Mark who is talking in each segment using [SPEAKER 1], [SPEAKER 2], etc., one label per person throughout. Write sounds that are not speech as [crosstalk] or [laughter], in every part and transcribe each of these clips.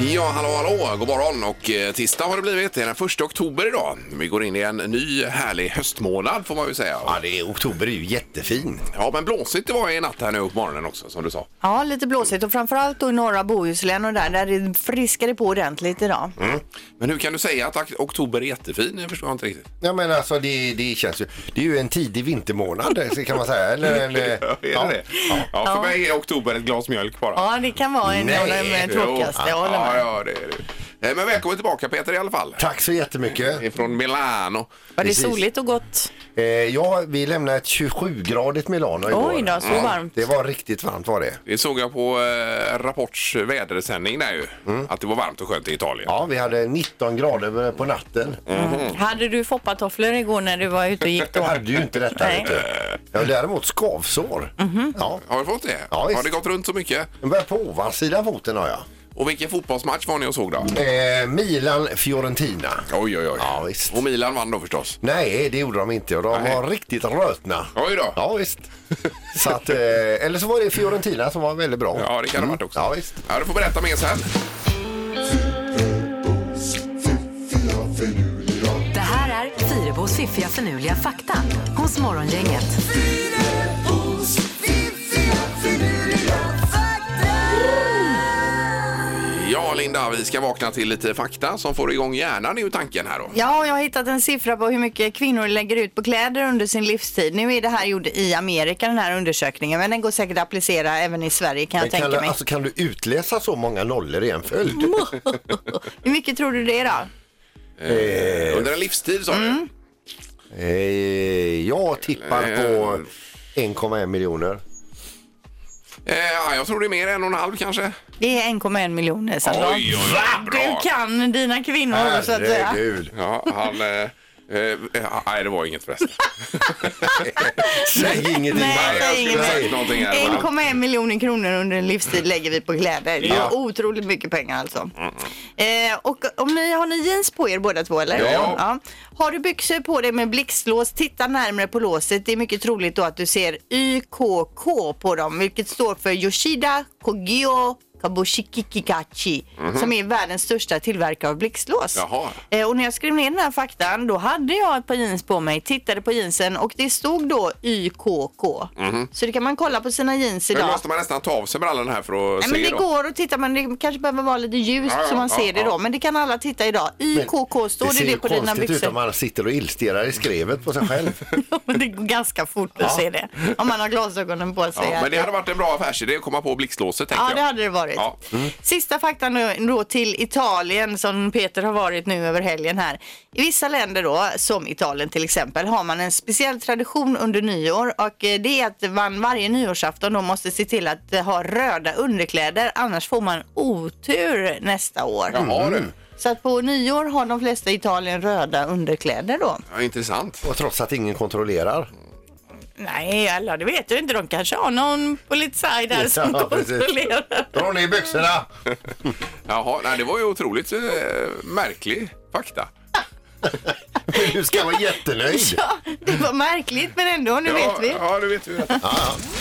[SPEAKER 1] ja, hallå, hallå, god morgon och eh, tisdag har det blivit. Det är den 1 oktober idag. Vi går in i en ny härlig höstmånad får man ju säga.
[SPEAKER 2] Ja, det är, oktober är ju jättefin.
[SPEAKER 1] Ja, men blåsigt det var i natt här nu och på morgonen också som du sa.
[SPEAKER 3] Ja, lite blåsigt och framförallt då i norra Bohuslän och där, där det friskade på ordentligt idag.
[SPEAKER 2] Mm.
[SPEAKER 1] Mm. Men hur kan du säga att ak- oktober är jättefin? Jag förstår inte riktigt.
[SPEAKER 2] Ja, men alltså det, det känns ju... Det är ju en tidig vintermånad så kan man säga. Eller [laughs] en... eh,
[SPEAKER 1] Ja, är det det? Ja. för mig är oktober ett glas mjölk bara.
[SPEAKER 3] Ja, det kan vara en av
[SPEAKER 2] Nej,
[SPEAKER 3] de tråkigaste. Jag håller
[SPEAKER 1] ja,
[SPEAKER 3] med.
[SPEAKER 1] ja, det är det. Eh, Men välkommen tillbaka Peter i alla fall.
[SPEAKER 2] Tack så jättemycket.
[SPEAKER 1] Från Milano.
[SPEAKER 3] Var det
[SPEAKER 2] precis.
[SPEAKER 3] soligt och gott?
[SPEAKER 2] Eh, ja, vi lämnade ett 27-gradigt Milano igår.
[SPEAKER 3] Oj då, så varmt.
[SPEAKER 2] Det var riktigt varmt var det.
[SPEAKER 1] Det såg jag på eh, Rapports vädersändning där ju. Att det var varmt och skönt i Italien.
[SPEAKER 2] Ja, vi hade 19 grader på natten.
[SPEAKER 3] Hade du foppatofflor igår när du var ute och gick
[SPEAKER 2] Jag [laughs]
[SPEAKER 3] då?
[SPEAKER 2] hade ju inte detta.
[SPEAKER 3] Nej. Mhm.
[SPEAKER 2] vet du. Jag har däremot skavsår. Ja.
[SPEAKER 1] Har du fått det?
[SPEAKER 2] Ja, visst.
[SPEAKER 1] har det gått runt så mycket?
[SPEAKER 2] Den börjar på ovansidan foten har jag.
[SPEAKER 1] Och vilken fotbollsmatch var ni och såg då?
[SPEAKER 2] Eh, Milan-Fiorentina.
[SPEAKER 1] Oj, oj, oj.
[SPEAKER 2] Ja, visst.
[SPEAKER 1] Och Milan vann då förstås.
[SPEAKER 2] Nej, det gjorde de inte och de
[SPEAKER 1] Nej.
[SPEAKER 2] var riktigt rötna.
[SPEAKER 1] Oj då.
[SPEAKER 2] Ja, visst. Så att, eh, eller så var det Fiorentina som var väldigt bra.
[SPEAKER 1] Ja, det kan det ha varit också.
[SPEAKER 2] Mm. Ja, visst.
[SPEAKER 1] Ja, du får berätta mer sen.
[SPEAKER 4] Det här är Fyrabos fiffiga förnuliga fakta hos Morgongänget.
[SPEAKER 1] Ja, Linda, vi ska vakna till lite fakta som får igång hjärnan, är ju tanken här då.
[SPEAKER 3] Ja, jag har hittat en siffra på hur mycket kvinnor lägger ut på kläder under sin livstid. Nu är det här gjord i Amerika, den här undersökningen, men den går säkert att applicera även i Sverige kan jag
[SPEAKER 2] Men
[SPEAKER 3] tänka
[SPEAKER 2] kan, du-
[SPEAKER 3] mig.
[SPEAKER 2] alltså, kan du utläsa så många nollor i en följd?
[SPEAKER 3] Hur mycket tror du det är då?
[SPEAKER 1] Eh, Under en livstid sa
[SPEAKER 3] Mm.
[SPEAKER 1] du?
[SPEAKER 2] Eh, jag tippar på 1,1 miljoner.
[SPEAKER 1] Eh, ja, jag tror det är mer, en och en halv kanske.
[SPEAKER 3] Det är 1,1 miljoner. Så
[SPEAKER 1] Oj,
[SPEAKER 3] då-
[SPEAKER 1] oj, oj, bra.
[SPEAKER 3] Du kan dina kvinnor så att säga.
[SPEAKER 2] Herregud.
[SPEAKER 1] Ja, han... Eh, eh, nej, det var inget
[SPEAKER 3] [laughs]
[SPEAKER 1] förresten.
[SPEAKER 2] Säg ingenting.
[SPEAKER 3] Nej,
[SPEAKER 1] jag
[SPEAKER 3] säg
[SPEAKER 1] skulle
[SPEAKER 3] inget
[SPEAKER 1] ha
[SPEAKER 3] mer.
[SPEAKER 1] sagt någonting här, va?
[SPEAKER 3] 1,1 miljoner kronor under en livstid lägger vi på kläder. Det är
[SPEAKER 1] Ja.
[SPEAKER 3] otroligt mycket pengar alltså. Eh, och om ni, har ni jeans på er båda två eller?
[SPEAKER 1] Ja.
[SPEAKER 3] Har du byxor på dig med blixtlås, titta närmare på låset. Det är mycket troligt då att du ser YKK på dem, vilket står för Yoshida Kogyo Kabushikikikachi som är världens största tillverkare av blixtlås.
[SPEAKER 1] Mhm. Jaha.
[SPEAKER 3] Eh, Och när jag skrev ner den här faktan då hade jag ett par jeans på mig, tittade på jeansen och det stod då YKK. Så det kan man kolla på sina jeans
[SPEAKER 1] Nu
[SPEAKER 3] idag.
[SPEAKER 1] Mhm. måste man nästan ta av sig brallorna här för att
[SPEAKER 3] Nej,
[SPEAKER 1] se
[SPEAKER 3] men det
[SPEAKER 1] då.
[SPEAKER 3] går att titta men det kanske behöver vara lite ljust
[SPEAKER 1] Ja, ja,
[SPEAKER 3] så man
[SPEAKER 1] ja,
[SPEAKER 3] ser det
[SPEAKER 1] ja.
[SPEAKER 3] då. Men det kan alla titta idag. YKK står det,
[SPEAKER 2] ser
[SPEAKER 3] det,
[SPEAKER 2] ju
[SPEAKER 3] på dina
[SPEAKER 2] konstigt ut
[SPEAKER 3] byxor.
[SPEAKER 2] om
[SPEAKER 3] [laughs]
[SPEAKER 2] man sitter och illstirrar i skrevet på sig själv.
[SPEAKER 3] Men det går ganska fort att se det. Om man har glasögonen på sig.
[SPEAKER 1] Ja, men det hade varit en bra affärsidé att komma på blixtlåset, tänker
[SPEAKER 3] Ja,
[SPEAKER 1] jag.
[SPEAKER 3] det hade det varit.
[SPEAKER 1] Ja.
[SPEAKER 3] Sista faktan nu då till Italien som Peter har varit nu över helgen här. I vissa länder då, som Italien till exempel, har man en speciell tradition under nyår och eh, det är att man varje nyårsafton då måste se till att eh, ha röda underkläder annars får man otur nästa år.
[SPEAKER 1] Jaha, du.
[SPEAKER 3] Så att på nyår har de flesta i Italien röda underkläder då.
[SPEAKER 1] Ja, intressant.
[SPEAKER 2] Och trots att ingen kontrollerar.
[SPEAKER 3] Nej, alla det vet jag inte. De kanske har någon polizaj där som
[SPEAKER 2] Ja, precis.
[SPEAKER 3] kontrollerar.
[SPEAKER 2] Dra ner byxorna!
[SPEAKER 1] Jaha, nej, det var ju otroligt eh, märklig fakta.
[SPEAKER 2] Du ska vara jättenöjd.
[SPEAKER 3] Ja, det var märkligt men ändå, nu
[SPEAKER 1] ja,
[SPEAKER 3] vet vi.
[SPEAKER 1] Ja, nu vet vi. detta.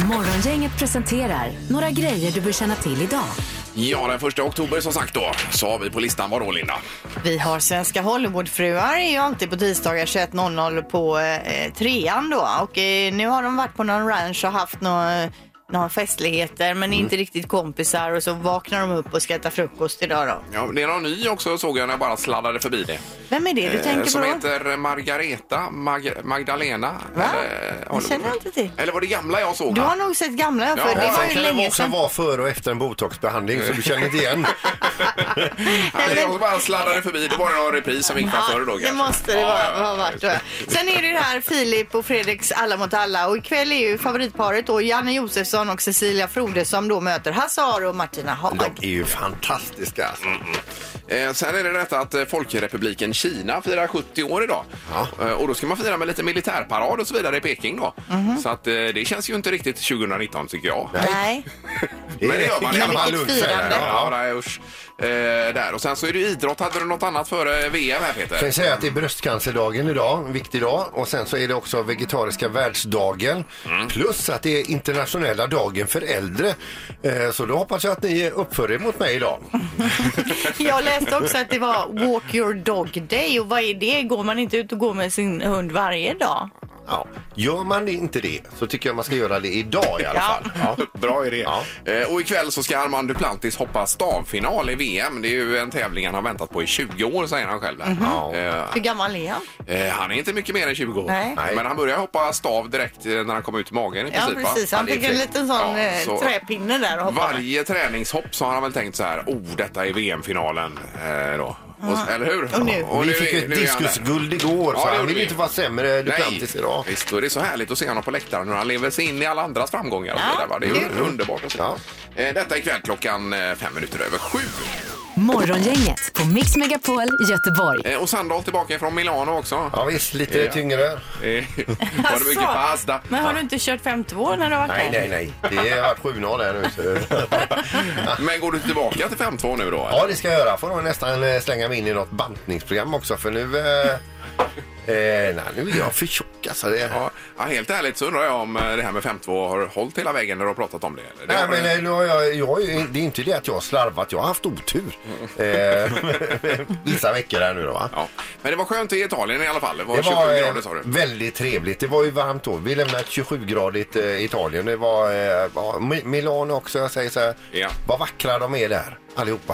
[SPEAKER 4] Morgongänget presenterar några grejer du bör känna till idag.
[SPEAKER 1] Ja, den första oktober som sagt då, sa vi på listan var då Linda.
[SPEAKER 3] Vi har Svenska Hollywoodfruar är ju alltid på tisdagar 21.00 på eh, trean då och eh, nu har de varit på någon ranch och haft några några festligheter
[SPEAKER 1] Mm.
[SPEAKER 3] men inte riktigt kompisar och så vaknar de upp och ska äta frukost idag då.
[SPEAKER 1] Ja, det är någon ny också såg jag när jag bara sladdade förbi det.
[SPEAKER 3] Vem är det du tänker
[SPEAKER 1] Eh, som
[SPEAKER 3] på? då?
[SPEAKER 1] heter Margareta Mag- Magdalena.
[SPEAKER 3] Va?
[SPEAKER 1] Eller, eh,
[SPEAKER 3] Det känner jag inte till.
[SPEAKER 1] Eller var det gamla jag såg?
[SPEAKER 3] Du
[SPEAKER 1] här?
[SPEAKER 3] har nog sett gamla för
[SPEAKER 1] Ja,
[SPEAKER 3] det
[SPEAKER 2] Men
[SPEAKER 3] var
[SPEAKER 2] sen
[SPEAKER 3] ju
[SPEAKER 2] kan det
[SPEAKER 3] länge
[SPEAKER 2] också
[SPEAKER 3] sedan.
[SPEAKER 2] vara före och efter en botoxbehandling så du känner inte igen.
[SPEAKER 1] Nej, Jag bara sladdade förbi. Det var någon repris som gick framför då
[SPEAKER 3] [laughs] Ja, det
[SPEAKER 1] kanske.
[SPEAKER 3] måste det
[SPEAKER 1] Ja,
[SPEAKER 3] vara,
[SPEAKER 1] ja, ja.
[SPEAKER 3] ha varit tror jag. Sen är det ju det här Filip och Fredriks Alla mot alla och ikväll är ju favoritparet då Janne Josefsson och Cecilia Frode som då möter Hasse Aro och Martina Haag.
[SPEAKER 2] De är ju fantastiska. alltså.
[SPEAKER 1] Eh, sen är det detta att eh, Folkrepubliken Kina firar 70 år idag. Eh, och då ska man fira med lite militärparad och så vidare i Peking då. Så att eh, det känns ju inte riktigt 2019 tycker jag.
[SPEAKER 3] Nej.
[SPEAKER 1] Men det gör man i alla fall.
[SPEAKER 3] vilket
[SPEAKER 2] Lund säger
[SPEAKER 3] firande.
[SPEAKER 2] det.
[SPEAKER 1] Ja,
[SPEAKER 2] Ja.
[SPEAKER 1] nej, usch. Eh, där. Och sen så är det ju idrott. Hade du något annat före VM här
[SPEAKER 2] Kan
[SPEAKER 1] Peter?
[SPEAKER 2] jag säga att det är bröstcancerdagen idag, en viktig dag. Och sen så är det också vegetariska världsdagen.
[SPEAKER 1] Mm.
[SPEAKER 2] Plus att det är internationella dagen för äldre. Eh, Så då hoppas jag att ni uppför er mot mig idag.
[SPEAKER 3] [laughs] Jag läste också att det var Walk your dog day och vad är det? Går man inte ut och går med sin hund varje dag?
[SPEAKER 2] Ja. Gör man inte det så tycker jag man ska göra det idag i alla
[SPEAKER 3] Ja.
[SPEAKER 2] fall. Ja.
[SPEAKER 1] Bra idé.
[SPEAKER 2] Ja.
[SPEAKER 1] Eh, och ikväll så ska Armand Duplantis hoppa stavfinal i VM. Det är ju en tävling han har väntat på i 20 år säger han själv. där. Eh,
[SPEAKER 3] Hur gammal är han?
[SPEAKER 1] Eh, han är inte mycket mer än 20 år.
[SPEAKER 3] Nej.
[SPEAKER 2] Nej.
[SPEAKER 1] Men han började hoppa stav direkt eh, när han kom ut i magen i
[SPEAKER 3] Ja,
[SPEAKER 1] princip. va?
[SPEAKER 3] precis. Han
[SPEAKER 2] Ja, det är
[SPEAKER 3] fick en
[SPEAKER 2] fint.
[SPEAKER 3] liten sån
[SPEAKER 1] Ja,
[SPEAKER 3] eh,
[SPEAKER 1] så-
[SPEAKER 3] träpinne där och hoppade.
[SPEAKER 1] Varje träningshopp så har han väl tänkt så här, oh detta är VM-finalen eh, då. Och, s- Eller hur?
[SPEAKER 3] Och nu?
[SPEAKER 2] Och vi
[SPEAKER 1] är-
[SPEAKER 2] fick ju ett
[SPEAKER 1] nu är han där.
[SPEAKER 2] diskusguld igår
[SPEAKER 1] Ja,
[SPEAKER 2] så
[SPEAKER 1] det
[SPEAKER 2] han
[SPEAKER 1] gjorde
[SPEAKER 2] vill
[SPEAKER 1] vi.
[SPEAKER 2] inte vara sämre
[SPEAKER 1] Nej,
[SPEAKER 2] Duplantis idag.
[SPEAKER 1] visst. Och det är så härligt att se honom på läktaren hur han lever sig in i alla andras framgångar. Och
[SPEAKER 3] Ja,
[SPEAKER 1] så där, va? Det är ju
[SPEAKER 3] kul.
[SPEAKER 1] underbart att se.
[SPEAKER 2] Ja.
[SPEAKER 1] Eh, Detta ikväll klockan eh, fem minuter över sju.
[SPEAKER 4] Morgongänget på Mix Megapol Göteborg.
[SPEAKER 1] Eh, Och Sandal tillbaka från Milano också.
[SPEAKER 2] Ja visst, lite
[SPEAKER 1] Ja.
[SPEAKER 2] tyngre.
[SPEAKER 1] Eh, [laughs] Var det mycket
[SPEAKER 3] Alltså,
[SPEAKER 1] pasta?
[SPEAKER 3] Men har du inte kört 52 när du har varit
[SPEAKER 2] Nej,
[SPEAKER 3] där?
[SPEAKER 2] nej, nej. Det har varit 7-0 här nu. Så.
[SPEAKER 1] Men går du tillbaka till 5-2 nu då? eller?
[SPEAKER 2] Ja, det ska jag göra. Får nog nästan eh, slänga mig in i något bantningsprogram också för nu... Eh, [laughs] eh, nej, nu är jag för tjock alltså. Det,
[SPEAKER 1] Ja, ja, helt ärligt så undrar jag om eh, det här med 5-2 har hållit hela vägen när du har pratat om det. Eller? Det
[SPEAKER 2] Nej,
[SPEAKER 1] har
[SPEAKER 2] men
[SPEAKER 1] du-
[SPEAKER 2] eh, nu har jag, jag, har ju- det är inte det att jag har slarvat, jag har
[SPEAKER 1] [laughs]
[SPEAKER 2] haft otur. Eh, [laughs] vissa veckor här nu då va?
[SPEAKER 1] ja. men det var skönt i Italien i alla fall. Det var,
[SPEAKER 2] Det var
[SPEAKER 1] 27
[SPEAKER 2] eh,
[SPEAKER 1] grader sa du.
[SPEAKER 2] väldigt trevligt. Det var ju varmt då. Vi lämnade ett 27-gradigt eh, Italien. Det var eh, ja, Mi- Milano också. Jag säger så här.
[SPEAKER 1] Ja.
[SPEAKER 2] Vad vackra de är där allihopa.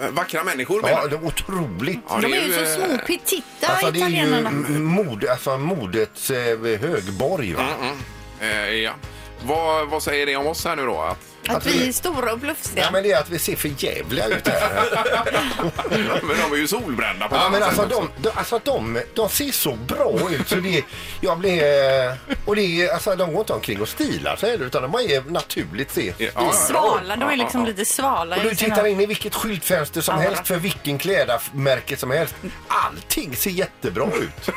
[SPEAKER 1] Eh, Vackra människor menar
[SPEAKER 2] Ja,
[SPEAKER 1] du?
[SPEAKER 2] det var otroligt.
[SPEAKER 1] Ja,
[SPEAKER 3] De är ju så
[SPEAKER 1] eh,
[SPEAKER 3] små petitta
[SPEAKER 2] Alltså det är ju
[SPEAKER 3] italienarna.
[SPEAKER 2] m- mode, alltså modets eh, högborg. Va?
[SPEAKER 1] eh, ja. Vad, vad säger det om oss här nu då? Att,
[SPEAKER 3] Att vi är stora och plufsiga.
[SPEAKER 2] Ja men det är att vi ser för jävliga ut här.
[SPEAKER 1] [laughs]
[SPEAKER 3] Mm.
[SPEAKER 1] men de är ju solbrända på
[SPEAKER 2] Ja
[SPEAKER 1] ett
[SPEAKER 2] men
[SPEAKER 1] annat
[SPEAKER 2] alltså
[SPEAKER 1] sätt också.
[SPEAKER 2] de, de, alltså de, de ser så bra ut så det, jag blir, eh, och det är, alltså de går inte omkring och stilar sig heller, utan de är naturligt se.
[SPEAKER 1] Ja, ja, ja.
[SPEAKER 3] Svala, de är liksom
[SPEAKER 1] Ja, ja,
[SPEAKER 3] lite svala.
[SPEAKER 2] Och
[SPEAKER 3] i
[SPEAKER 2] du
[SPEAKER 3] sina-
[SPEAKER 2] tittar in i vilket skyltfönster som
[SPEAKER 3] Ja.
[SPEAKER 2] helst för vilken klädmärke som helst. Allting ser jättebra ut.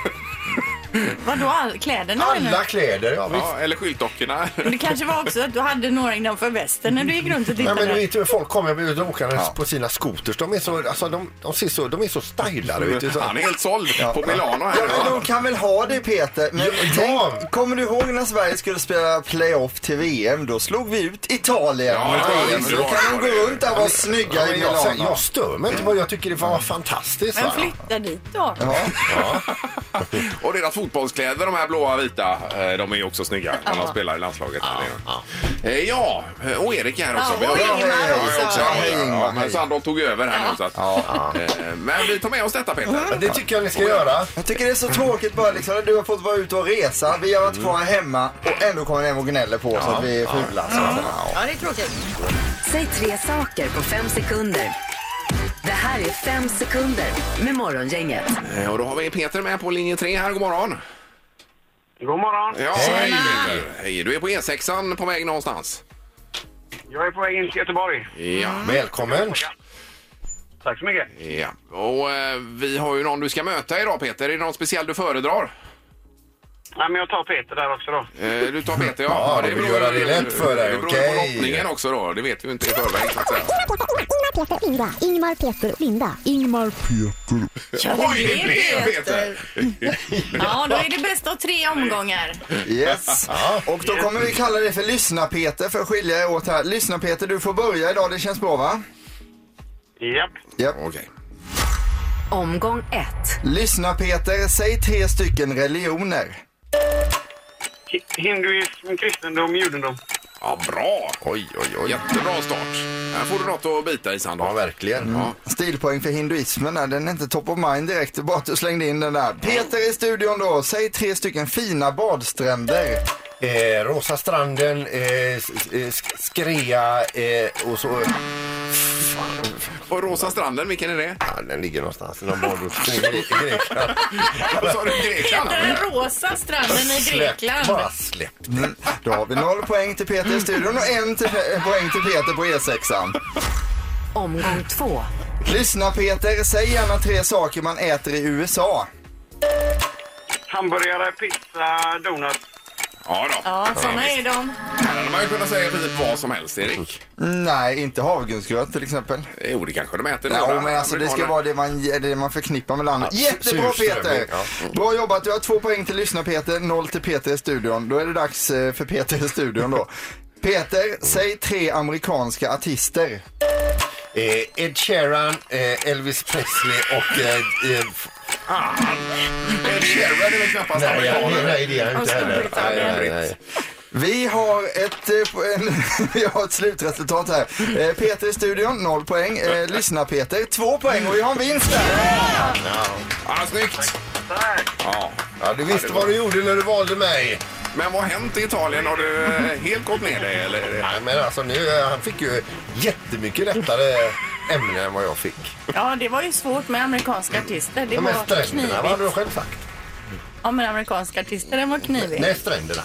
[SPEAKER 3] Vadå, all... kläderna menar du?
[SPEAKER 2] Alla kläder, ja visst.
[SPEAKER 1] ja, eller skyltdockorna.
[SPEAKER 3] Men Det kanske var också att du hade några innanför västen när du gick runt och
[SPEAKER 2] Nej,
[SPEAKER 3] tittade.
[SPEAKER 2] men du vet ju hur folk kommer ut och åker
[SPEAKER 1] Ja.
[SPEAKER 2] på sina skoters. De är så, alltså, de, de ser så, de är så stylade. Vet du, så.
[SPEAKER 1] Han är helt såld på Milano här.
[SPEAKER 5] Ja, men
[SPEAKER 1] Ja,
[SPEAKER 5] de kan väl ha det Peter. Men
[SPEAKER 2] Ja,
[SPEAKER 5] tänk,
[SPEAKER 2] ja.
[SPEAKER 5] Kommer du ihåg när Sverige skulle spela playoff till VM? Då slog vi ut Italien.
[SPEAKER 1] Ja, Italien,
[SPEAKER 5] så
[SPEAKER 1] det
[SPEAKER 5] då
[SPEAKER 1] var
[SPEAKER 5] kan
[SPEAKER 1] det.
[SPEAKER 5] de gå runt där och vara
[SPEAKER 2] Ja,
[SPEAKER 5] snygga i
[SPEAKER 2] men jag,
[SPEAKER 5] Milano.
[SPEAKER 2] jag, jag stör mig inte, bara jag tycker det
[SPEAKER 1] Mm.
[SPEAKER 2] var fantastiskt.
[SPEAKER 3] Men
[SPEAKER 2] va?
[SPEAKER 3] flytta dit då.
[SPEAKER 1] och deras fotbollskläder, de här blåa vita, eh, de är ju också snygga när de spelar i landslaget. Ja, ja. ja eh, och Erik är här också.
[SPEAKER 3] Ja,
[SPEAKER 1] Vi har-
[SPEAKER 3] och Ingmar
[SPEAKER 1] Ja, jag
[SPEAKER 3] också.
[SPEAKER 1] också.
[SPEAKER 5] Hej, Ingmar,
[SPEAKER 1] Ja, men
[SPEAKER 5] hej.
[SPEAKER 1] Sandholt tog över här nu. Så att, Eh, Men vi tar med oss detta Peter.
[SPEAKER 2] Det tycker jag ni ska göra.
[SPEAKER 5] Jag tycker det är så tråkigt bara liksom när du har fått vara ute och resa. Vi har varit kvar hemma och ändå kommer hem och gnäller på oss att vi är fula. så att säga.
[SPEAKER 3] Ja, det är tråkigt.
[SPEAKER 4] Säg tre saker på fem sekunder. Det här är fem sekunder med Morgongänget.
[SPEAKER 1] Eh, Och då har vi Peter med på linje 3 här. God morgon.
[SPEAKER 6] God morgon.
[SPEAKER 1] Ja, hej Peter. Hej, du är på E6an på väg någonstans.
[SPEAKER 6] Jag är på väg in till Göteborg.
[SPEAKER 1] Ja,
[SPEAKER 2] Välkommen.
[SPEAKER 6] Tack så mycket.
[SPEAKER 1] ja. Och eh, vi har ju någon du ska möta idag Peter. Är det någon speciell du föredrar?
[SPEAKER 6] Nej, men jag tar Peter där också då.
[SPEAKER 1] Eh, Du tar Peter, ja.
[SPEAKER 2] Ja, du vill
[SPEAKER 1] beror-
[SPEAKER 2] göra det lätt för dig,
[SPEAKER 1] Det beror
[SPEAKER 2] okej.
[SPEAKER 1] på lottningen också då. Det vet vi ju inte i förväg så att säga.
[SPEAKER 7] Ingmar, Peter, Linda. Ingmar, Peter, Linda. Ingmar,
[SPEAKER 1] Oj, det blev Peter!
[SPEAKER 3] Ja, då är det bästa av tre omgångar.
[SPEAKER 5] Yes. Och då kommer vi kalla det för Lyssna-Peter för att skilja er åt här. Lyssna-Peter, du får börja idag. Det känns bra va?
[SPEAKER 6] Japp.
[SPEAKER 5] Japp.
[SPEAKER 1] Okej.
[SPEAKER 4] Omgång ett.
[SPEAKER 5] Lyssna-Peter, säg tre stycken religioner.
[SPEAKER 6] Hi- Hinduism, kristendom, judendom.
[SPEAKER 1] Ja, bra!
[SPEAKER 2] Oj, oj, oj.
[SPEAKER 1] Jättebra start. Här får du något att bita i
[SPEAKER 2] Ja,
[SPEAKER 1] Sandholt.
[SPEAKER 2] verkligen.
[SPEAKER 1] Ja.
[SPEAKER 5] Stilpoäng för hinduismen där, den är inte top of mind direkt. Det är bara att du slängde in den där. Peter i studion då, säg tre stycken fina badstränder.
[SPEAKER 2] Eh, Rosa stranden, eh, s- s- eh, sk- Skrea eh, och så...
[SPEAKER 1] Och Rosa stranden, vilken är det?
[SPEAKER 2] Ja, den ligger någonstans i någon badort i Gre- Grekland.
[SPEAKER 1] Vad sa du? Grekland?
[SPEAKER 3] Heter den rosa stranden i
[SPEAKER 2] Släpp,
[SPEAKER 3] Grekland?
[SPEAKER 2] bara släpp.
[SPEAKER 5] Mm. Då har vi noll poäng till Peter E i studion och en till, poäng till Peter på E6.
[SPEAKER 4] Omgång två.
[SPEAKER 5] Lyssna Peter, säg gärna tre saker man äter i USA.
[SPEAKER 6] Hamburgare, pizza, donut.
[SPEAKER 1] Ja då.
[SPEAKER 8] Ja, såna är de.
[SPEAKER 1] Här hade man ju kunnat säga typ vad som helst, Erik.
[SPEAKER 5] Nej, inte havregrynsgröt till exempel.
[SPEAKER 1] Jo, det kanske de äter nu,
[SPEAKER 5] Ja,
[SPEAKER 1] va?
[SPEAKER 5] men alltså det ska
[SPEAKER 1] Amerikaner.
[SPEAKER 5] vara det man, det man förknippar med landet.
[SPEAKER 2] Ja,
[SPEAKER 5] Jättebra
[SPEAKER 2] surströmming,
[SPEAKER 5] Peter! Bra jobbat, du har två poäng till lyssna Peter, noll till Peter i studion. Då är det dags eh, för Peter i studion då. Peter, säg tre amerikanska artister.
[SPEAKER 2] Eh, Ed Sheeran, eh, Elvis Presley och... Eh, eh, f-
[SPEAKER 1] Ed Sheeran är väl knappast
[SPEAKER 2] nej, jag-
[SPEAKER 1] amerikaner?
[SPEAKER 2] nej, det är jag inte heller. Nej, nej, nej.
[SPEAKER 5] Vi har ett, eh, po- en, [laughs] vi har ett slutresultat här. Eh, Peter i studion, noll poäng. Eh, lyssna Peter, två poäng och vi har en vinst där.
[SPEAKER 1] Ja, snyggt!
[SPEAKER 6] Tack!
[SPEAKER 1] Ja.
[SPEAKER 2] Ja, du visste vad du gjorde när du valde mig.
[SPEAKER 1] Men vad har hänt i Italien? Har du eh, helt gått ner dig? Eller?
[SPEAKER 2] Nej, men alltså nu, eh, han fick ju jättemycket lättare ämnen än vad jag fick.
[SPEAKER 8] Ja, det var ju svårt med amerikanska artister. Det
[SPEAKER 2] Ja, men
[SPEAKER 8] var
[SPEAKER 2] stränderna, vad
[SPEAKER 8] knivigt.
[SPEAKER 2] hade du själv sagt?
[SPEAKER 8] Ja, men amerikanska artister, den var knivig.
[SPEAKER 2] Nej, stränderna.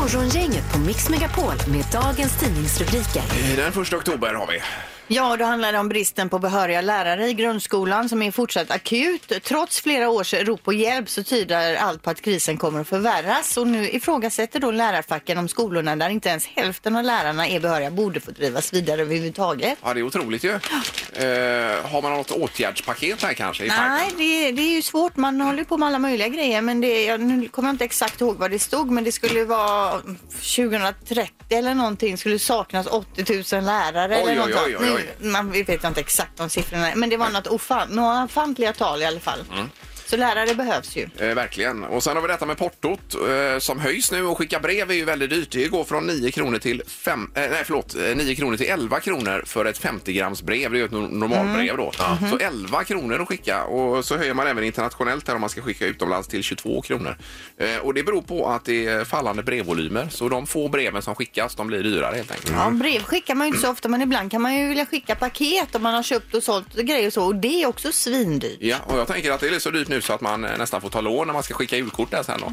[SPEAKER 4] Morgongänget på Mix Megapol med dagens tidningsrubriker.
[SPEAKER 1] Den första oktober har vi.
[SPEAKER 3] Ja, och då handlar det om bristen på behöriga lärare i grundskolan som är fortsatt akut. Trots flera års rop på hjälp så tyder allt på att krisen kommer att förvärras och nu ifrågasätter då lärarfacken om skolorna där inte ens hälften av lärarna är behöriga borde få drivas vidare överhuvudtaget.
[SPEAKER 1] Ja, det är otroligt ju. Eh, har man något åtgärdspaket här kanske? I
[SPEAKER 3] Nej,
[SPEAKER 1] tanken?
[SPEAKER 3] det, det är ju svårt. Man håller ju på med alla möjliga grejer. Men det, jag, nu kommer jag inte exakt ihåg vad det stod, men det skulle ju vara 2030 eller någonting. skulle saknas 80 000 lärare
[SPEAKER 1] Oj,
[SPEAKER 3] eller
[SPEAKER 1] oj,
[SPEAKER 3] något
[SPEAKER 1] oj,
[SPEAKER 3] sånt.
[SPEAKER 1] oj,
[SPEAKER 3] Nu, Man vet jag inte exakt de siffrorna, men det var något ofan, några ofantliga tal i alla fall.
[SPEAKER 1] Mm.
[SPEAKER 3] Så lärare behövs ju.
[SPEAKER 1] Eh, verkligen. Och sen har vi detta med portot eh, som höjs nu och skicka brev är ju väldigt dyrt. Det går från 9 kronor till, fem, eh, nej, förlåt, eh, 9 kronor till 11 kronor för ett 50 grams brev. Det är ju ett no-
[SPEAKER 3] Mm.
[SPEAKER 1] normalbrev då.
[SPEAKER 3] Mhm.
[SPEAKER 1] Så 11 kronor att skicka och så höjer man även internationellt här om man ska skicka utomlands till 22 kronor. Eh, och det beror på att det är fallande brevvolymer så de få breven som skickas de blir dyrare helt enkelt.
[SPEAKER 3] Ja, brev skickar man ju inte så ofta, men ibland kan man ju vilja skicka paket om man har köpt och sålt grejer och så. Och det är också svindyrt.
[SPEAKER 1] Ja, och jag tänker att det är så dyrt nu så att man eh, nästan får ta lån när man ska skicka julkort där
[SPEAKER 3] [laughs]
[SPEAKER 1] sen då.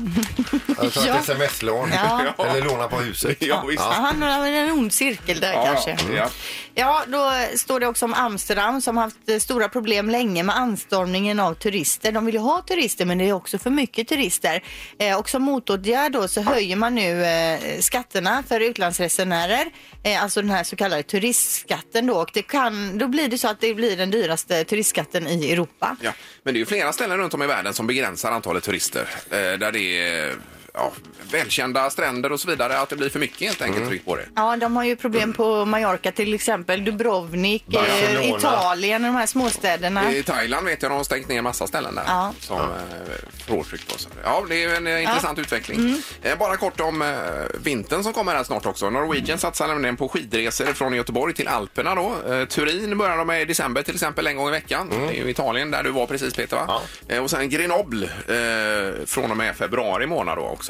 [SPEAKER 2] Alltså
[SPEAKER 3] Ja.
[SPEAKER 2] ett sms-lån.
[SPEAKER 3] Ja.
[SPEAKER 2] Eller låna på huset.
[SPEAKER 1] Ja, visst.
[SPEAKER 3] Ja, han har en ond cirkel där
[SPEAKER 1] Ja,
[SPEAKER 3] kanske.
[SPEAKER 1] ja.
[SPEAKER 3] Mm.
[SPEAKER 1] Ja.
[SPEAKER 3] Ja, då står det också om Amsterdam som haft eh, stora problem länge med anstormningen av turister. De vill ju ha turister men det är också för mycket turister. Eh, och som motåtgärd då så höjer man nu eh, skatterna för utlandsresenärer. Eh, alltså den här så kallade turistskatten då. Och det kan, då blir det så att det blir den dyraste turistskatten i Europa.
[SPEAKER 1] Ja, men det är ju flera ställen runt om i världen som begränsar antalet turister. Eh, där det är ja, välkända stränder och så vidare. Att det blir för mycket helt enkelt tryck på det.
[SPEAKER 3] Ja, de har ju problem på Mallorca till exempel, Dubrovnik, eh,
[SPEAKER 2] Barcelona.
[SPEAKER 3] Italien och de här småstäderna.
[SPEAKER 1] I Thailand vet jag de har stängt ner massa ställen där
[SPEAKER 3] Ja.
[SPEAKER 1] som eh, får tryck på sig. Ja, det är ju en eh, intressant utveckling. Eh, bara kort om eh, vintern som kommer här snart också. Norwegian satsar nämligen på skidresor från Göteborg till Alperna då. Eh, Turin börjar de med i december till exempel en gång i veckan.
[SPEAKER 2] Mm.
[SPEAKER 1] Det är ju Italien där du var precis Peter va? Eh, och sen Grenoble eh, från och med februari månad då också.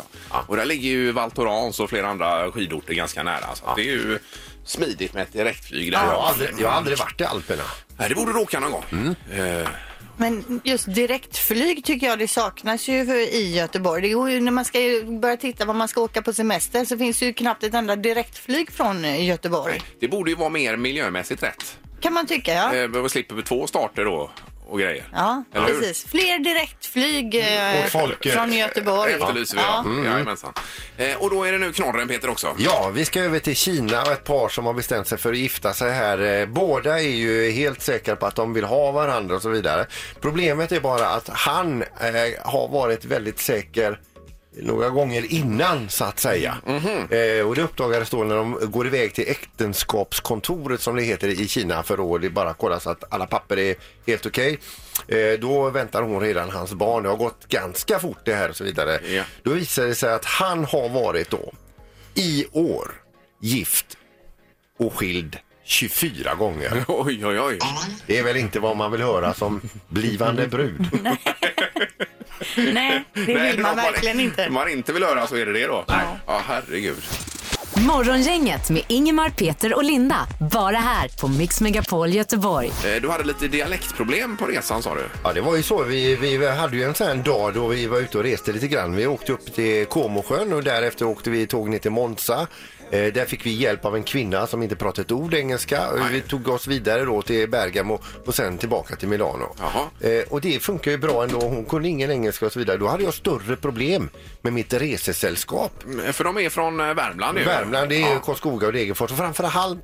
[SPEAKER 1] Och där ligger ju Val Thorens och flera andra skidorter ganska nära. Så att det är ju smidigt med ett direktflyg där.
[SPEAKER 2] Jag har, aldrig, jag har aldrig Mm. varit i Alperna.
[SPEAKER 1] Nej, Det borde du åka någon gång. Eh,
[SPEAKER 3] Men just direktflyg tycker jag det saknas ju för, i Göteborg. Det går ju, när man ska ju börja titta vad man ska åka på semester så finns det ju knappt ett enda direktflyg från eh, Göteborg.
[SPEAKER 1] Det borde ju vara mer miljömässigt rätt.
[SPEAKER 3] Kan man tycka ja.
[SPEAKER 1] Eh, och slipper vi två starter då och grejer.
[SPEAKER 3] Ja,
[SPEAKER 1] Eller hur?
[SPEAKER 3] precis. Fler direktflyg eh,
[SPEAKER 2] Och folk, eh,
[SPEAKER 3] från Göteborg.
[SPEAKER 1] Efterlyser vi, ja. Mm. Jajamensan. Eh, och då är det nu knorren, Peter, också.
[SPEAKER 2] Ja, vi ska över till Kina och ett par som har bestämt sig för att gifta sig här. Eh, Båda är ju helt säkra på att de vill ha varandra och så vidare. Problemet är bara att han eh, har varit väldigt säker några gånger innan så att säga. eh, och det uppdagades då när de går iväg till äktenskapskontoret som det heter i Kina för att bara kolla så att alla papper är helt okej. Eh, då väntar hon redan hans barn. Det har gått ganska fort det här och så vidare.
[SPEAKER 1] Ja.
[SPEAKER 2] Då visar det sig att han har varit då i år gift och skild 24 gånger.
[SPEAKER 1] [laughs] Oj, oj, oj.
[SPEAKER 2] Det är väl inte vad man vill höra som blivande brud.
[SPEAKER 8] Nej, det
[SPEAKER 1] Nej,
[SPEAKER 8] vill
[SPEAKER 1] det
[SPEAKER 8] man
[SPEAKER 1] var bara-
[SPEAKER 8] verkligen inte.
[SPEAKER 1] Om man inte vill höra så är det det då. Nej. Ja, herregud.
[SPEAKER 4] Morgongänget med Ingemar, Peter och Linda. Bara här på Mix Megapol Göteborg.
[SPEAKER 1] Eh, du hade lite dialektproblem på resan, sa du.
[SPEAKER 2] Ja, det var ju så. Vi, vi hade ju en sån här dag då vi var ute och reste lite grann. Vi åkte upp till Comosjön och därefter åkte vi tåg ner till Monza. Eh, Eh, där fick vi hjälp av en kvinna som inte pratade ett ord engelska. Eh,
[SPEAKER 1] Nej.
[SPEAKER 2] Vi tog oss vidare då till Bergamo och sen tillbaka till Milano.
[SPEAKER 1] Jaha.
[SPEAKER 2] Eh, och det funkar ju bra ändå. Hon kunde ingen engelska och så vidare. Då hade jag större problem med mitt resesällskap.
[SPEAKER 1] Mm, För de är från eh, Värmland. ju.
[SPEAKER 2] Värmland, det är
[SPEAKER 1] Ja.
[SPEAKER 2] Karlskoga och Degerfors. Och framförallt,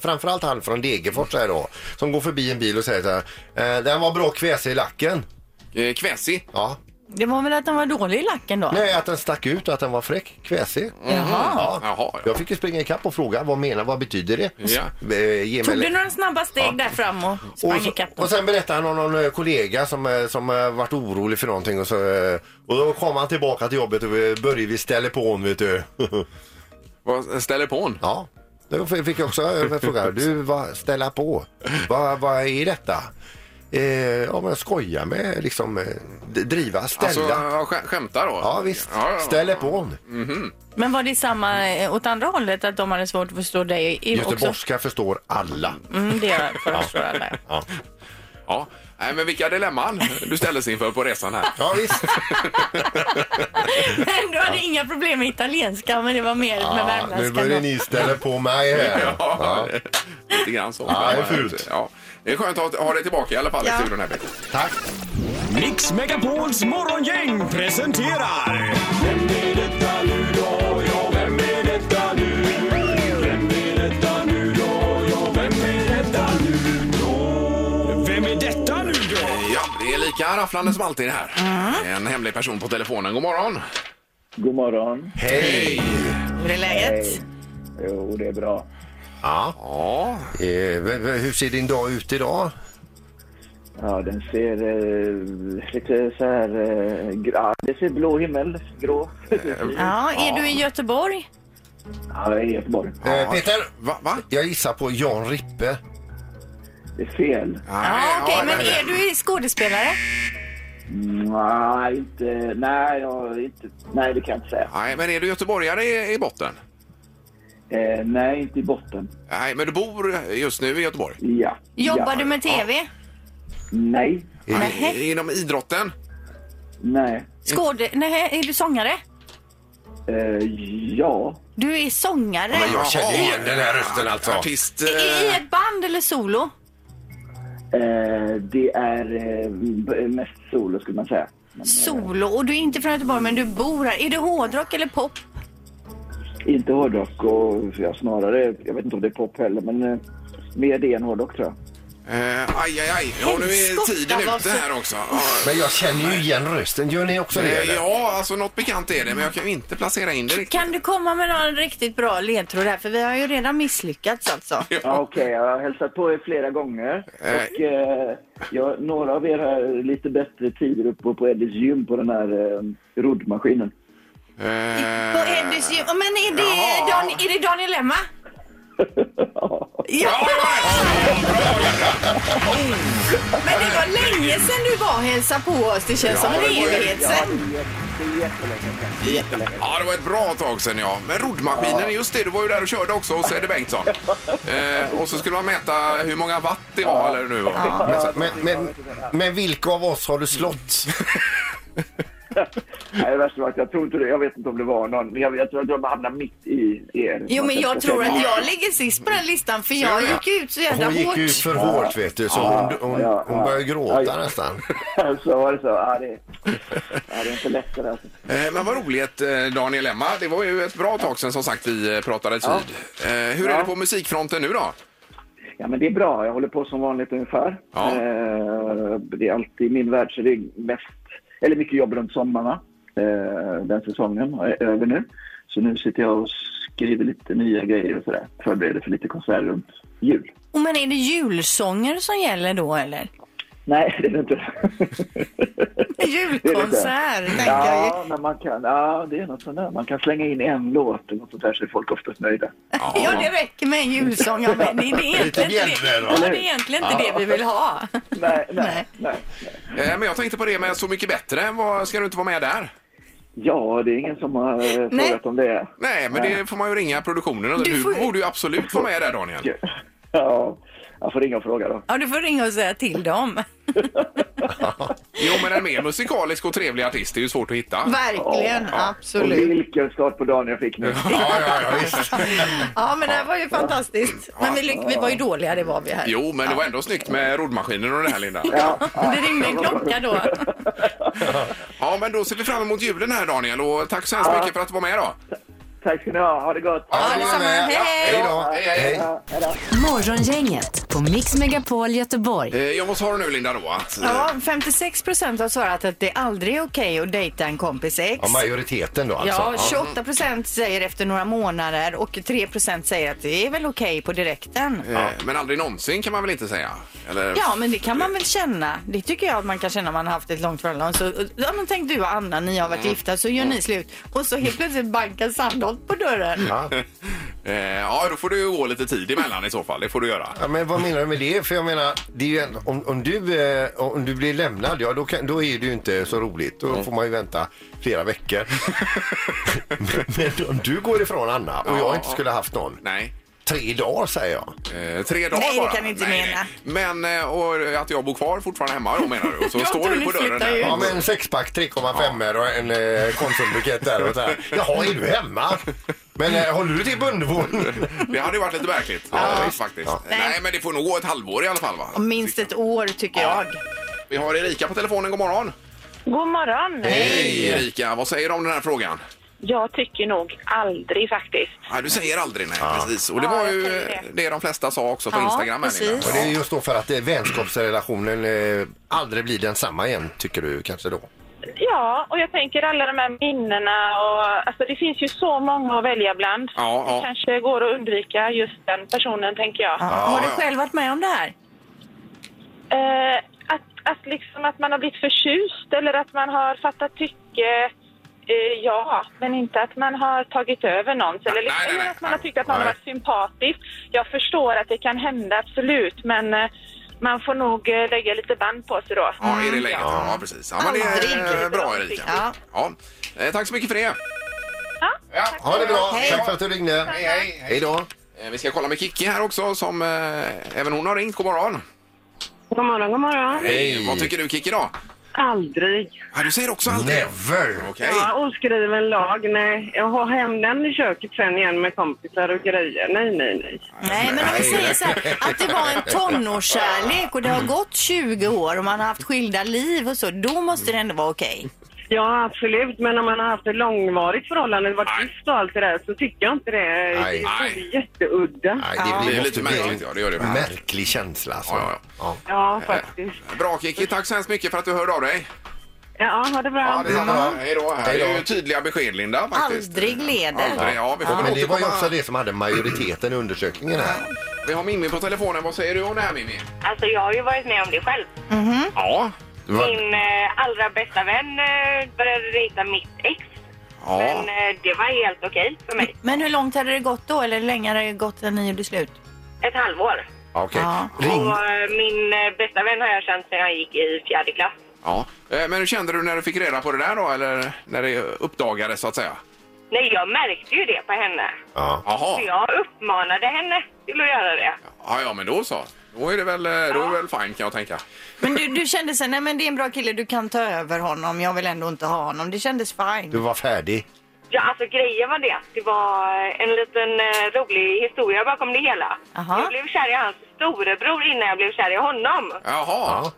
[SPEAKER 2] framförallt han från Degerfors så här då, som går förbi en bil och säger så här. Eh, den var bra kväse i lacken.
[SPEAKER 1] Eh, Kväsi.
[SPEAKER 2] Ja.
[SPEAKER 3] Det var väl att den var dålig i lacken då?
[SPEAKER 2] Nej, att den stack ut och att den var fräck, kväsig. Ja.
[SPEAKER 1] Jaha, ja.
[SPEAKER 2] Jag fick ju springa ikapp och fråga vad menar, vad betyder det?
[SPEAKER 1] Ja.
[SPEAKER 2] Eh, ge mig
[SPEAKER 3] Tog
[SPEAKER 2] lite-
[SPEAKER 3] du några snabba steg där fram och sprang
[SPEAKER 2] och, så,
[SPEAKER 3] ikapp?
[SPEAKER 2] och sen berättade han om någon eh, kollega som, eh, som eh, varit orolig för någonting och, så, eh, och då kom han tillbaka till jobbet och vi började vi ställa på honom vet du. [laughs]
[SPEAKER 1] Vad ställer på en?
[SPEAKER 2] Ja, då fick jag också en fråga. Du, vad, ställa på. Vad, vad är detta? Eh, ja, men skoja med, liksom, eh, d- driva, ställa.
[SPEAKER 1] Alltså, ja, skä- skämtar då?
[SPEAKER 2] ja, visst.
[SPEAKER 1] Ja, Mm. ja.
[SPEAKER 2] Ställa på.
[SPEAKER 3] Men var det samma eh, åt andra hållet, att de hade svårt att förstå dig i- också?
[SPEAKER 2] Göteborgska förstår alla.
[SPEAKER 3] Mm, det gör- förstår alla. [laughs]
[SPEAKER 2] Ja,
[SPEAKER 1] Ja. Nej, men vilka dilemman du ställdes inför på resan här.
[SPEAKER 2] ja visst.
[SPEAKER 3] Men du hade inga problem med italienska, men det var mer med
[SPEAKER 2] Ja, nu
[SPEAKER 3] värmländska.
[SPEAKER 2] börjar
[SPEAKER 3] då.
[SPEAKER 2] ni ställa på mig här.
[SPEAKER 1] Ja, lite grann så.
[SPEAKER 2] Ja, det är fult.
[SPEAKER 1] Ja. Det är skönt att ha dig tillbaka i alla fall i
[SPEAKER 9] Ja.
[SPEAKER 1] studion här. Peter.
[SPEAKER 2] Tack.
[SPEAKER 10] Mix Megapols morgongäng presenterar... Vem är detta nu då? Ja, vem är detta nu? Vem är detta nu då? Ja, vem är detta nu då? Vem är detta nu då?
[SPEAKER 1] Ja, det är lika rafflande som alltid här.
[SPEAKER 3] Mm.
[SPEAKER 1] En hemlig person på telefonen. God morgon.
[SPEAKER 11] God morgon.
[SPEAKER 2] Hej.
[SPEAKER 9] Hur är läget?
[SPEAKER 11] Jo, det är bra.
[SPEAKER 2] Ja.
[SPEAKER 1] Ja,
[SPEAKER 2] Eh, v- v- hur ser din dag ut idag?
[SPEAKER 11] Ja, den ser eh, lite så här... Eh, gr- ja, det ser blå himmel, grå.
[SPEAKER 3] Ja, är du i Göteborg?
[SPEAKER 11] ja, jag är i Göteborg.
[SPEAKER 2] Eh, Peter,
[SPEAKER 1] va? va?
[SPEAKER 2] jag gissar på Jan Rippe.
[SPEAKER 11] Det är fel.
[SPEAKER 3] Ja,
[SPEAKER 1] Nej,
[SPEAKER 3] okej,
[SPEAKER 1] ja,
[SPEAKER 3] men
[SPEAKER 1] nej, nej.
[SPEAKER 3] är du i skådespelare?
[SPEAKER 11] Mm, nej, inte... Nej, jag, inte, nej, det kan jag inte säga.
[SPEAKER 1] Nej, men är du göteborgare i, i botten?
[SPEAKER 11] Eh, nej, inte i botten.
[SPEAKER 1] Nej, men du bor just nu i Göteborg?
[SPEAKER 11] Ja.
[SPEAKER 3] Jobbar
[SPEAKER 11] ja.
[SPEAKER 3] du med tv?
[SPEAKER 11] Nej.
[SPEAKER 1] I- Inom idrotten?
[SPEAKER 11] Nej.
[SPEAKER 3] Skåde... Nej, är du sångare?
[SPEAKER 11] Eh, ja.
[SPEAKER 3] Du är sångare?
[SPEAKER 1] Men jag
[SPEAKER 2] känner igen den här rösten alltså.
[SPEAKER 1] Artist...
[SPEAKER 3] I
[SPEAKER 1] Eh,
[SPEAKER 3] ett band eller solo?
[SPEAKER 11] Eh, det är eh, b- mest solo, skulle man säga. Men, eh,
[SPEAKER 3] Solo, och du är inte från Göteborg men du bor här. Är det hårdrock eller pop?
[SPEAKER 11] Inte hårdrock och ja, snarare, jag vet inte om det är pop heller, men eh, mer det än hårdrock tror jag.
[SPEAKER 1] eh, aj, aj, aj. Ja, nu är
[SPEAKER 3] Helskotta,
[SPEAKER 1] tiden
[SPEAKER 3] vad
[SPEAKER 1] ute
[SPEAKER 3] så-
[SPEAKER 1] här också. Ja.
[SPEAKER 2] Men jag känner ju igen rösten. Gör ni också det?
[SPEAKER 1] Eh,
[SPEAKER 2] eller?
[SPEAKER 1] Ja, alltså något bekant är det, men jag kan ju inte placera in det riktigt.
[SPEAKER 3] Kan du komma med någon riktigt bra ledtråd här? För vi har ju redan misslyckats alltså.
[SPEAKER 11] Ja, Okej, jag har hälsat på er flera gånger. Och, eh, jag, några av er har lite bättre tider uppe på Eddies gym på den här eh, [laughs] roddmaskinen.
[SPEAKER 3] På
[SPEAKER 1] Eh,
[SPEAKER 3] Eddys gym. Men är det,
[SPEAKER 1] Jaha.
[SPEAKER 3] Dan, är det Daniel Emma?
[SPEAKER 1] Ja,
[SPEAKER 3] Ja,
[SPEAKER 1] det var det!
[SPEAKER 3] men det var länge sedan du var och hälsade på oss. Det känns som en evighet sedan.
[SPEAKER 1] Ja, det var ett bra tag sedan ja. Men roddmaskinen, just det, du var ju där och körde också hos Eddie Bengtsson. Eh, och så skulle man mäta hur många watt det var, eller nu var.
[SPEAKER 2] Men, men, men, men vilka av oss har du slått?
[SPEAKER 11] Nej, det värsta var att jag tror inte det, jag vet inte om det var någon, jag, jag tror att jag hamnade mitt i er. Alltså,
[SPEAKER 3] Jo, men jag tror att jag ligger sist på den listan för jag gick ut så jävla
[SPEAKER 2] Hon gick
[SPEAKER 3] hårt.
[SPEAKER 2] ut för hårt vet du, så hon, hon,
[SPEAKER 11] ja,
[SPEAKER 2] hon
[SPEAKER 11] ja.
[SPEAKER 2] började gråta
[SPEAKER 11] Ja.
[SPEAKER 2] nästan.
[SPEAKER 11] [laughs] så var det så. Ja, det, ja, det är inte lätt det där. Alltså.
[SPEAKER 1] Eh, men vad roligt eh, Daniel Emma, det var ju ett bra tag sedan som sagt vi eh, pratades vid. Eh, hur är
[SPEAKER 11] Ja.
[SPEAKER 1] det på musikfronten nu då?
[SPEAKER 11] Ja, men det är bra. Jag håller på som vanligt ungefär.
[SPEAKER 1] Ja.
[SPEAKER 11] Eh, det är alltid i min värld så det är mest, eller mycket jobb runt sommarna. Eh, den säsongen är över nu. Så nu sitter jag och skriver lite nya grejer och sådär. Förbereder för lite konserter runt jul.
[SPEAKER 3] Och men är det julsånger som gäller då eller?
[SPEAKER 11] Nej, det är det inte.
[SPEAKER 3] Julkonsert tänker jag ju.
[SPEAKER 11] ja, men man kan, ja, det är något sånt där. Man kan slänga in en låt och något sånt där så är folk oftast nöjda.
[SPEAKER 3] Ja, det räcker med en julsång. Ja, men det är egentligen inte, det,
[SPEAKER 2] bjällror,
[SPEAKER 3] ja, det, är egentligen inte det vi vill ha.
[SPEAKER 11] Nej,
[SPEAKER 3] Nej.
[SPEAKER 11] nej, nej.
[SPEAKER 1] Eh, men jag tänkte på det med Så mycket bättre, vad, ska du inte vara med där?
[SPEAKER 11] Ja, det är ingen som har eh,
[SPEAKER 3] Nej.
[SPEAKER 11] frågat om det. är.
[SPEAKER 1] Nej, men det får man ju ringa produktionen och
[SPEAKER 3] Du
[SPEAKER 1] du
[SPEAKER 3] får ju-
[SPEAKER 1] borde ju absolut vara med där Daniel.
[SPEAKER 11] Ja,
[SPEAKER 12] Jag får ringa och fråga då.
[SPEAKER 8] Ja, du får ringa och säga till dem.
[SPEAKER 1] Jo, men en mer musikalisk och trevlig artist är ju svårt att hitta.
[SPEAKER 3] Verkligen, absolut.
[SPEAKER 12] Och vilken start på dagen jag fick nu.
[SPEAKER 1] Ja, ja, ja, visst.
[SPEAKER 8] Ja, men det här var ju fantastiskt. Men vi, lyck- vi var ju dåliga, det var vi här.
[SPEAKER 1] Jo, men det var ändå snyggt med roddmaskinen och det här, Linda.
[SPEAKER 8] Det ringde en klocka då.
[SPEAKER 1] Ja, men då ser vi fram emot julen här, Daniel. Och tack så hemskt mycket för att du var med då.
[SPEAKER 12] Tack ska ni ha. Ha det gott.
[SPEAKER 8] Ja, detsamma. Hej, hej!
[SPEAKER 2] då. Hej.
[SPEAKER 4] Morgongänget på Mix Megapol Göteborg.
[SPEAKER 1] Eh, Ja, vad sa du nu, Linda, då? Att, eh,
[SPEAKER 3] Ja, 56 procent har svarat att det aldrig är okej att dejta en kompis ex.
[SPEAKER 2] Ja, majoriteten då alltså.
[SPEAKER 3] Ja, 28 procent säger efter några månader och 3 procent säger att det är väl okej på direkten.
[SPEAKER 1] eh, Men aldrig någonsin kan man väl inte säga? Eller,
[SPEAKER 3] Ja, men det kan man väl känna. Det tycker jag att man kan känna om man har haft ett långt förhållande. Så, ja, men tänk du och Anna, ni har varit gifta, så gör ni slut. Och så helt plötsligt bankar Sandholt på dörren.
[SPEAKER 1] [laughs] Eh, ja, då får du ju gå lite tid emellan i så fall. Det får du göra.
[SPEAKER 2] Ja, men vad menar du med det? För jag menar, det är ju en, om, om, du, eh, om du blir lämnad, ja då, kan, då är det ju inte så roligt. Då får man ju vänta
[SPEAKER 1] [laughs]
[SPEAKER 2] flera veckor. men, men om du går ifrån Anna och
[SPEAKER 1] Ja,
[SPEAKER 2] jag inte
[SPEAKER 1] ja.
[SPEAKER 2] skulle haft någon.
[SPEAKER 1] Nej.
[SPEAKER 2] Tre dagar säger jag.
[SPEAKER 1] Eh, tre dagar
[SPEAKER 3] Nej, det
[SPEAKER 1] bara.
[SPEAKER 3] kan ni inte mena.
[SPEAKER 1] Men eh, och att jag bor kvar fortfarande hemma då menar du? Och så
[SPEAKER 3] [laughs]
[SPEAKER 8] Ja,
[SPEAKER 1] står
[SPEAKER 8] då
[SPEAKER 1] du
[SPEAKER 8] ni
[SPEAKER 1] på dörren
[SPEAKER 8] flyttar
[SPEAKER 1] där.
[SPEAKER 8] ju.
[SPEAKER 2] Ja men en sexpack 3,5 och en eh, konsumbukett där och så här. Jaha, är du hemma? Men eh, håller du till på undervåningen?
[SPEAKER 1] Det hade ju varit lite märkligt. Eh, faktiskt. Nej. men det får nog gå ett halvår i alla fall va?
[SPEAKER 3] Och Minst ett år tycker jag.
[SPEAKER 1] Vi har Erika på telefonen. God morgon.
[SPEAKER 11] God morgon!
[SPEAKER 1] Hej Erika, vad säger du om den här frågan?
[SPEAKER 11] Jag tycker nog aldrig faktiskt.
[SPEAKER 1] Ja, du säger aldrig nej, precis. Och det var ju det. det de flesta sa också på
[SPEAKER 11] Ja,
[SPEAKER 1] Instagram. här, Linda.
[SPEAKER 2] Och det är just då för att eh, vänskapsrelationen eh, aldrig blir densamma igen tycker du kanske då?
[SPEAKER 11] Ja, och jag tänker alla de här minnena och alltså det finns ju så många att välja bland.
[SPEAKER 1] Ja, ja.
[SPEAKER 11] Det kanske går att undvika just den personen tänker jag.
[SPEAKER 8] Har du själv varit med om det här?
[SPEAKER 11] Eh, att, att liksom att man har blivit förtjust eller att man har fattat tycke, eh, ja, men inte att man har tagit över någons. Eller, liksom,
[SPEAKER 1] nej, nej,
[SPEAKER 11] eller att man har tyckt att någon
[SPEAKER 2] nej.
[SPEAKER 11] har varit sympatisk. Jag förstår att det kan hända, absolut, men eh, man får nog eh, lägga lite band på sig då.
[SPEAKER 1] Ja, är det läget? Ja, precis. Ja, men det är eh,
[SPEAKER 3] Aldrig.
[SPEAKER 1] bra Erika.
[SPEAKER 3] Ja.
[SPEAKER 1] Ja. Eh, Tack så mycket för det.
[SPEAKER 11] Ja,
[SPEAKER 1] Ja,
[SPEAKER 2] Ha det bra,
[SPEAKER 3] Hej.
[SPEAKER 2] tack för att du ringde. Hej,
[SPEAKER 1] hej.
[SPEAKER 2] hej då.
[SPEAKER 1] Eh, Vi ska kolla med Kiki här också som eh, även hon har ringt. God morgon.
[SPEAKER 11] God morgon, god morgon.
[SPEAKER 1] Hej. Vad tycker du Kiki då?
[SPEAKER 11] Aldrig.
[SPEAKER 1] Ja, du säger också aldrig.
[SPEAKER 2] Never!
[SPEAKER 1] Okej.
[SPEAKER 11] Ja, oskriven lag. Nej, jag har hem den i köket sen igen med kompisar och grejer. Nej, nej, nej.
[SPEAKER 3] Nej, men om vi säger så här, att det var en tonårskärlek och det har gått 20 år och man har haft skilda liv och så, då måste det ändå vara okej.
[SPEAKER 11] Ja, absolut. Men om man har haft ett långvarigt förhållande, varit
[SPEAKER 1] Nej.
[SPEAKER 11] gift och allt det där, så tycker jag inte det är,
[SPEAKER 2] Nej.
[SPEAKER 11] det är jätteudda.
[SPEAKER 2] Nej,
[SPEAKER 3] Ja.
[SPEAKER 1] Det är
[SPEAKER 2] måste
[SPEAKER 1] lite
[SPEAKER 2] bli en
[SPEAKER 1] märkligt, ja, det gör det.
[SPEAKER 2] Märklig känsla alltså.
[SPEAKER 1] Ja, ja,
[SPEAKER 11] Ja, faktiskt.
[SPEAKER 1] Bra Kiki, tack så hemskt mycket för att du hörde av dig.
[SPEAKER 11] Ja, ha det bra.
[SPEAKER 1] det är bra. Hej då. Här
[SPEAKER 2] Mm. Hej då.
[SPEAKER 1] är ju tydliga besked Linda faktiskt.
[SPEAKER 3] Aldrig leder.
[SPEAKER 1] Aldrig, ja, vi får väl
[SPEAKER 2] Men det var ju
[SPEAKER 1] återkomma.
[SPEAKER 2] också det som hade majoriteten i undersökningen här.
[SPEAKER 1] Vi har Mimmi på telefonen. Vad säger du om det här Mimmi?
[SPEAKER 11] Alltså, jag har ju varit med om det själv.
[SPEAKER 1] Ja.
[SPEAKER 2] Det var-
[SPEAKER 11] Min eh, allra bästa vän eh, började dejta mitt ex.
[SPEAKER 1] Ja.
[SPEAKER 11] Men eh, det var helt okej för mig.
[SPEAKER 3] Men hur långt hade det gått då? Eller hur länge hade det gått när ni gjorde slut?
[SPEAKER 11] Ett halvår.
[SPEAKER 2] Ja, Okej.
[SPEAKER 3] Ja.
[SPEAKER 2] Ring.
[SPEAKER 11] Och eh, min eh, bästa vän har jag känt sedan jag gick i fjärde klass.
[SPEAKER 1] ja. Eh, Men hur kände du när du fick reda på det där då? Eller när det uppdagades så att säga?
[SPEAKER 11] Nej, jag märkte ju det på henne.
[SPEAKER 2] Ja.
[SPEAKER 11] Så
[SPEAKER 1] Jaha.
[SPEAKER 11] jag uppmanade henne till att göra det.
[SPEAKER 1] Ja, ja, men då så. Då är det väl, eh, då är det väl fine kan jag tänka.
[SPEAKER 3] Men du, du kände sen, nej men det är en bra kille, du kan ta över honom, jag vill ändå inte ha honom. Det kändes
[SPEAKER 2] Du
[SPEAKER 3] fine.
[SPEAKER 2] var färdig.
[SPEAKER 11] Ja, alltså grejen var det att det var en liten eh, rolig historia bakom det hela.
[SPEAKER 3] Aha.
[SPEAKER 11] Jag blev kär i hans storebror innan jag blev kär i honom.
[SPEAKER 1] Jaha.
[SPEAKER 2] Ja.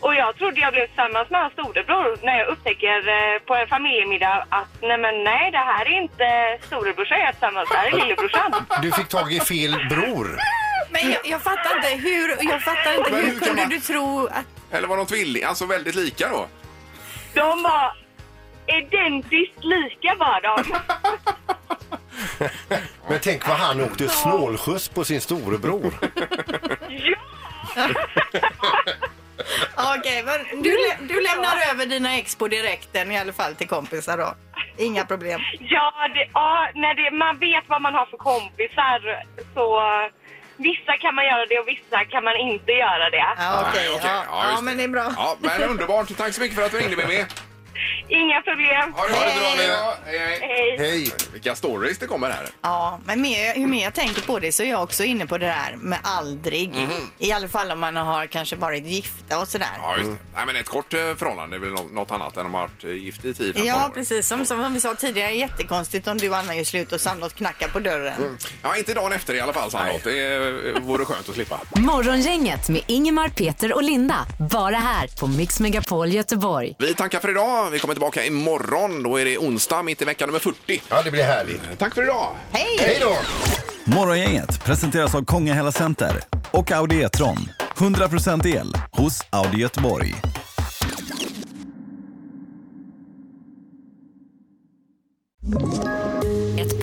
[SPEAKER 11] Och jag trodde jag blev tillsammans med hans storebror när jag upptäcker eh, på en familjemiddag att nej men nej, det här är inte storebrorsan jag är tillsammans med, det här är lillebrorsan.
[SPEAKER 2] Du fick tag i fel bror.
[SPEAKER 3] Men jag, jag fattar inte, hur, jag fattar inte,
[SPEAKER 1] Men
[SPEAKER 3] hur
[SPEAKER 1] hur kan
[SPEAKER 3] kunde
[SPEAKER 1] man-
[SPEAKER 3] du tro att...
[SPEAKER 1] Eller var de tvillingar? Alltså väldigt lika då?
[SPEAKER 11] De var identiskt lika
[SPEAKER 2] [laughs]
[SPEAKER 11] var de.
[SPEAKER 2] Men tänk vad han åkte snålskjuts på sin storebror.
[SPEAKER 11] Ja!
[SPEAKER 3] Okej, men du, lä- du lämnar över dina ex på direkten i alla fall till kompisar då. Inga problem.
[SPEAKER 11] Ja, det, ja när det, man vet vad man har för kompisar så eh, vissa kan man göra det och vissa kan man inte göra det.
[SPEAKER 3] Ja, okej.
[SPEAKER 1] Nej, okej.
[SPEAKER 3] ja,
[SPEAKER 1] Ja,
[SPEAKER 3] ja,
[SPEAKER 1] just
[SPEAKER 3] men det är bra.
[SPEAKER 1] Ja, men underbart. Tack så mycket för att du ringde Mimmi.
[SPEAKER 11] Inga problem.
[SPEAKER 1] Ha det bra nu. Hej,
[SPEAKER 11] hej.
[SPEAKER 1] Vilka stories det kommer här.
[SPEAKER 3] Ja, men mer, ju mer jag tänker på det så är jag också inne på det där med aldrig.
[SPEAKER 1] Mhm.
[SPEAKER 3] I alla fall om man har kanske varit gifta och sådär.
[SPEAKER 1] Ja, just det. Nej, men ett kort eh, förhållande är väl nå- något annat än om man har varit eh, gift i 10
[SPEAKER 3] Ja, precis. Som, som vi sa tidigare, jättekonstigt om du och Anna gör slut och samlat knackar på dörren.
[SPEAKER 1] Ja, inte dagen efter i alla fall, Sandholt. Det eh, vore skönt att slippa.
[SPEAKER 4] Morgongänget med Ingemar, Peter och Linda. Bara här på Mix Megapol Göteborg.
[SPEAKER 1] Vi tackar för idag. Vi kommer tillbaka imorgon. Då är det onsdag, mitt i vecka nummer 40.
[SPEAKER 2] Ja, det blir härligt.
[SPEAKER 1] Tack för idag.
[SPEAKER 3] Hej!
[SPEAKER 1] Hej då!
[SPEAKER 5] Morgongänget presenteras av Kongahälla Center och Audi E-tron. 100% el hos Audi Göteborg.
[SPEAKER 4] Ett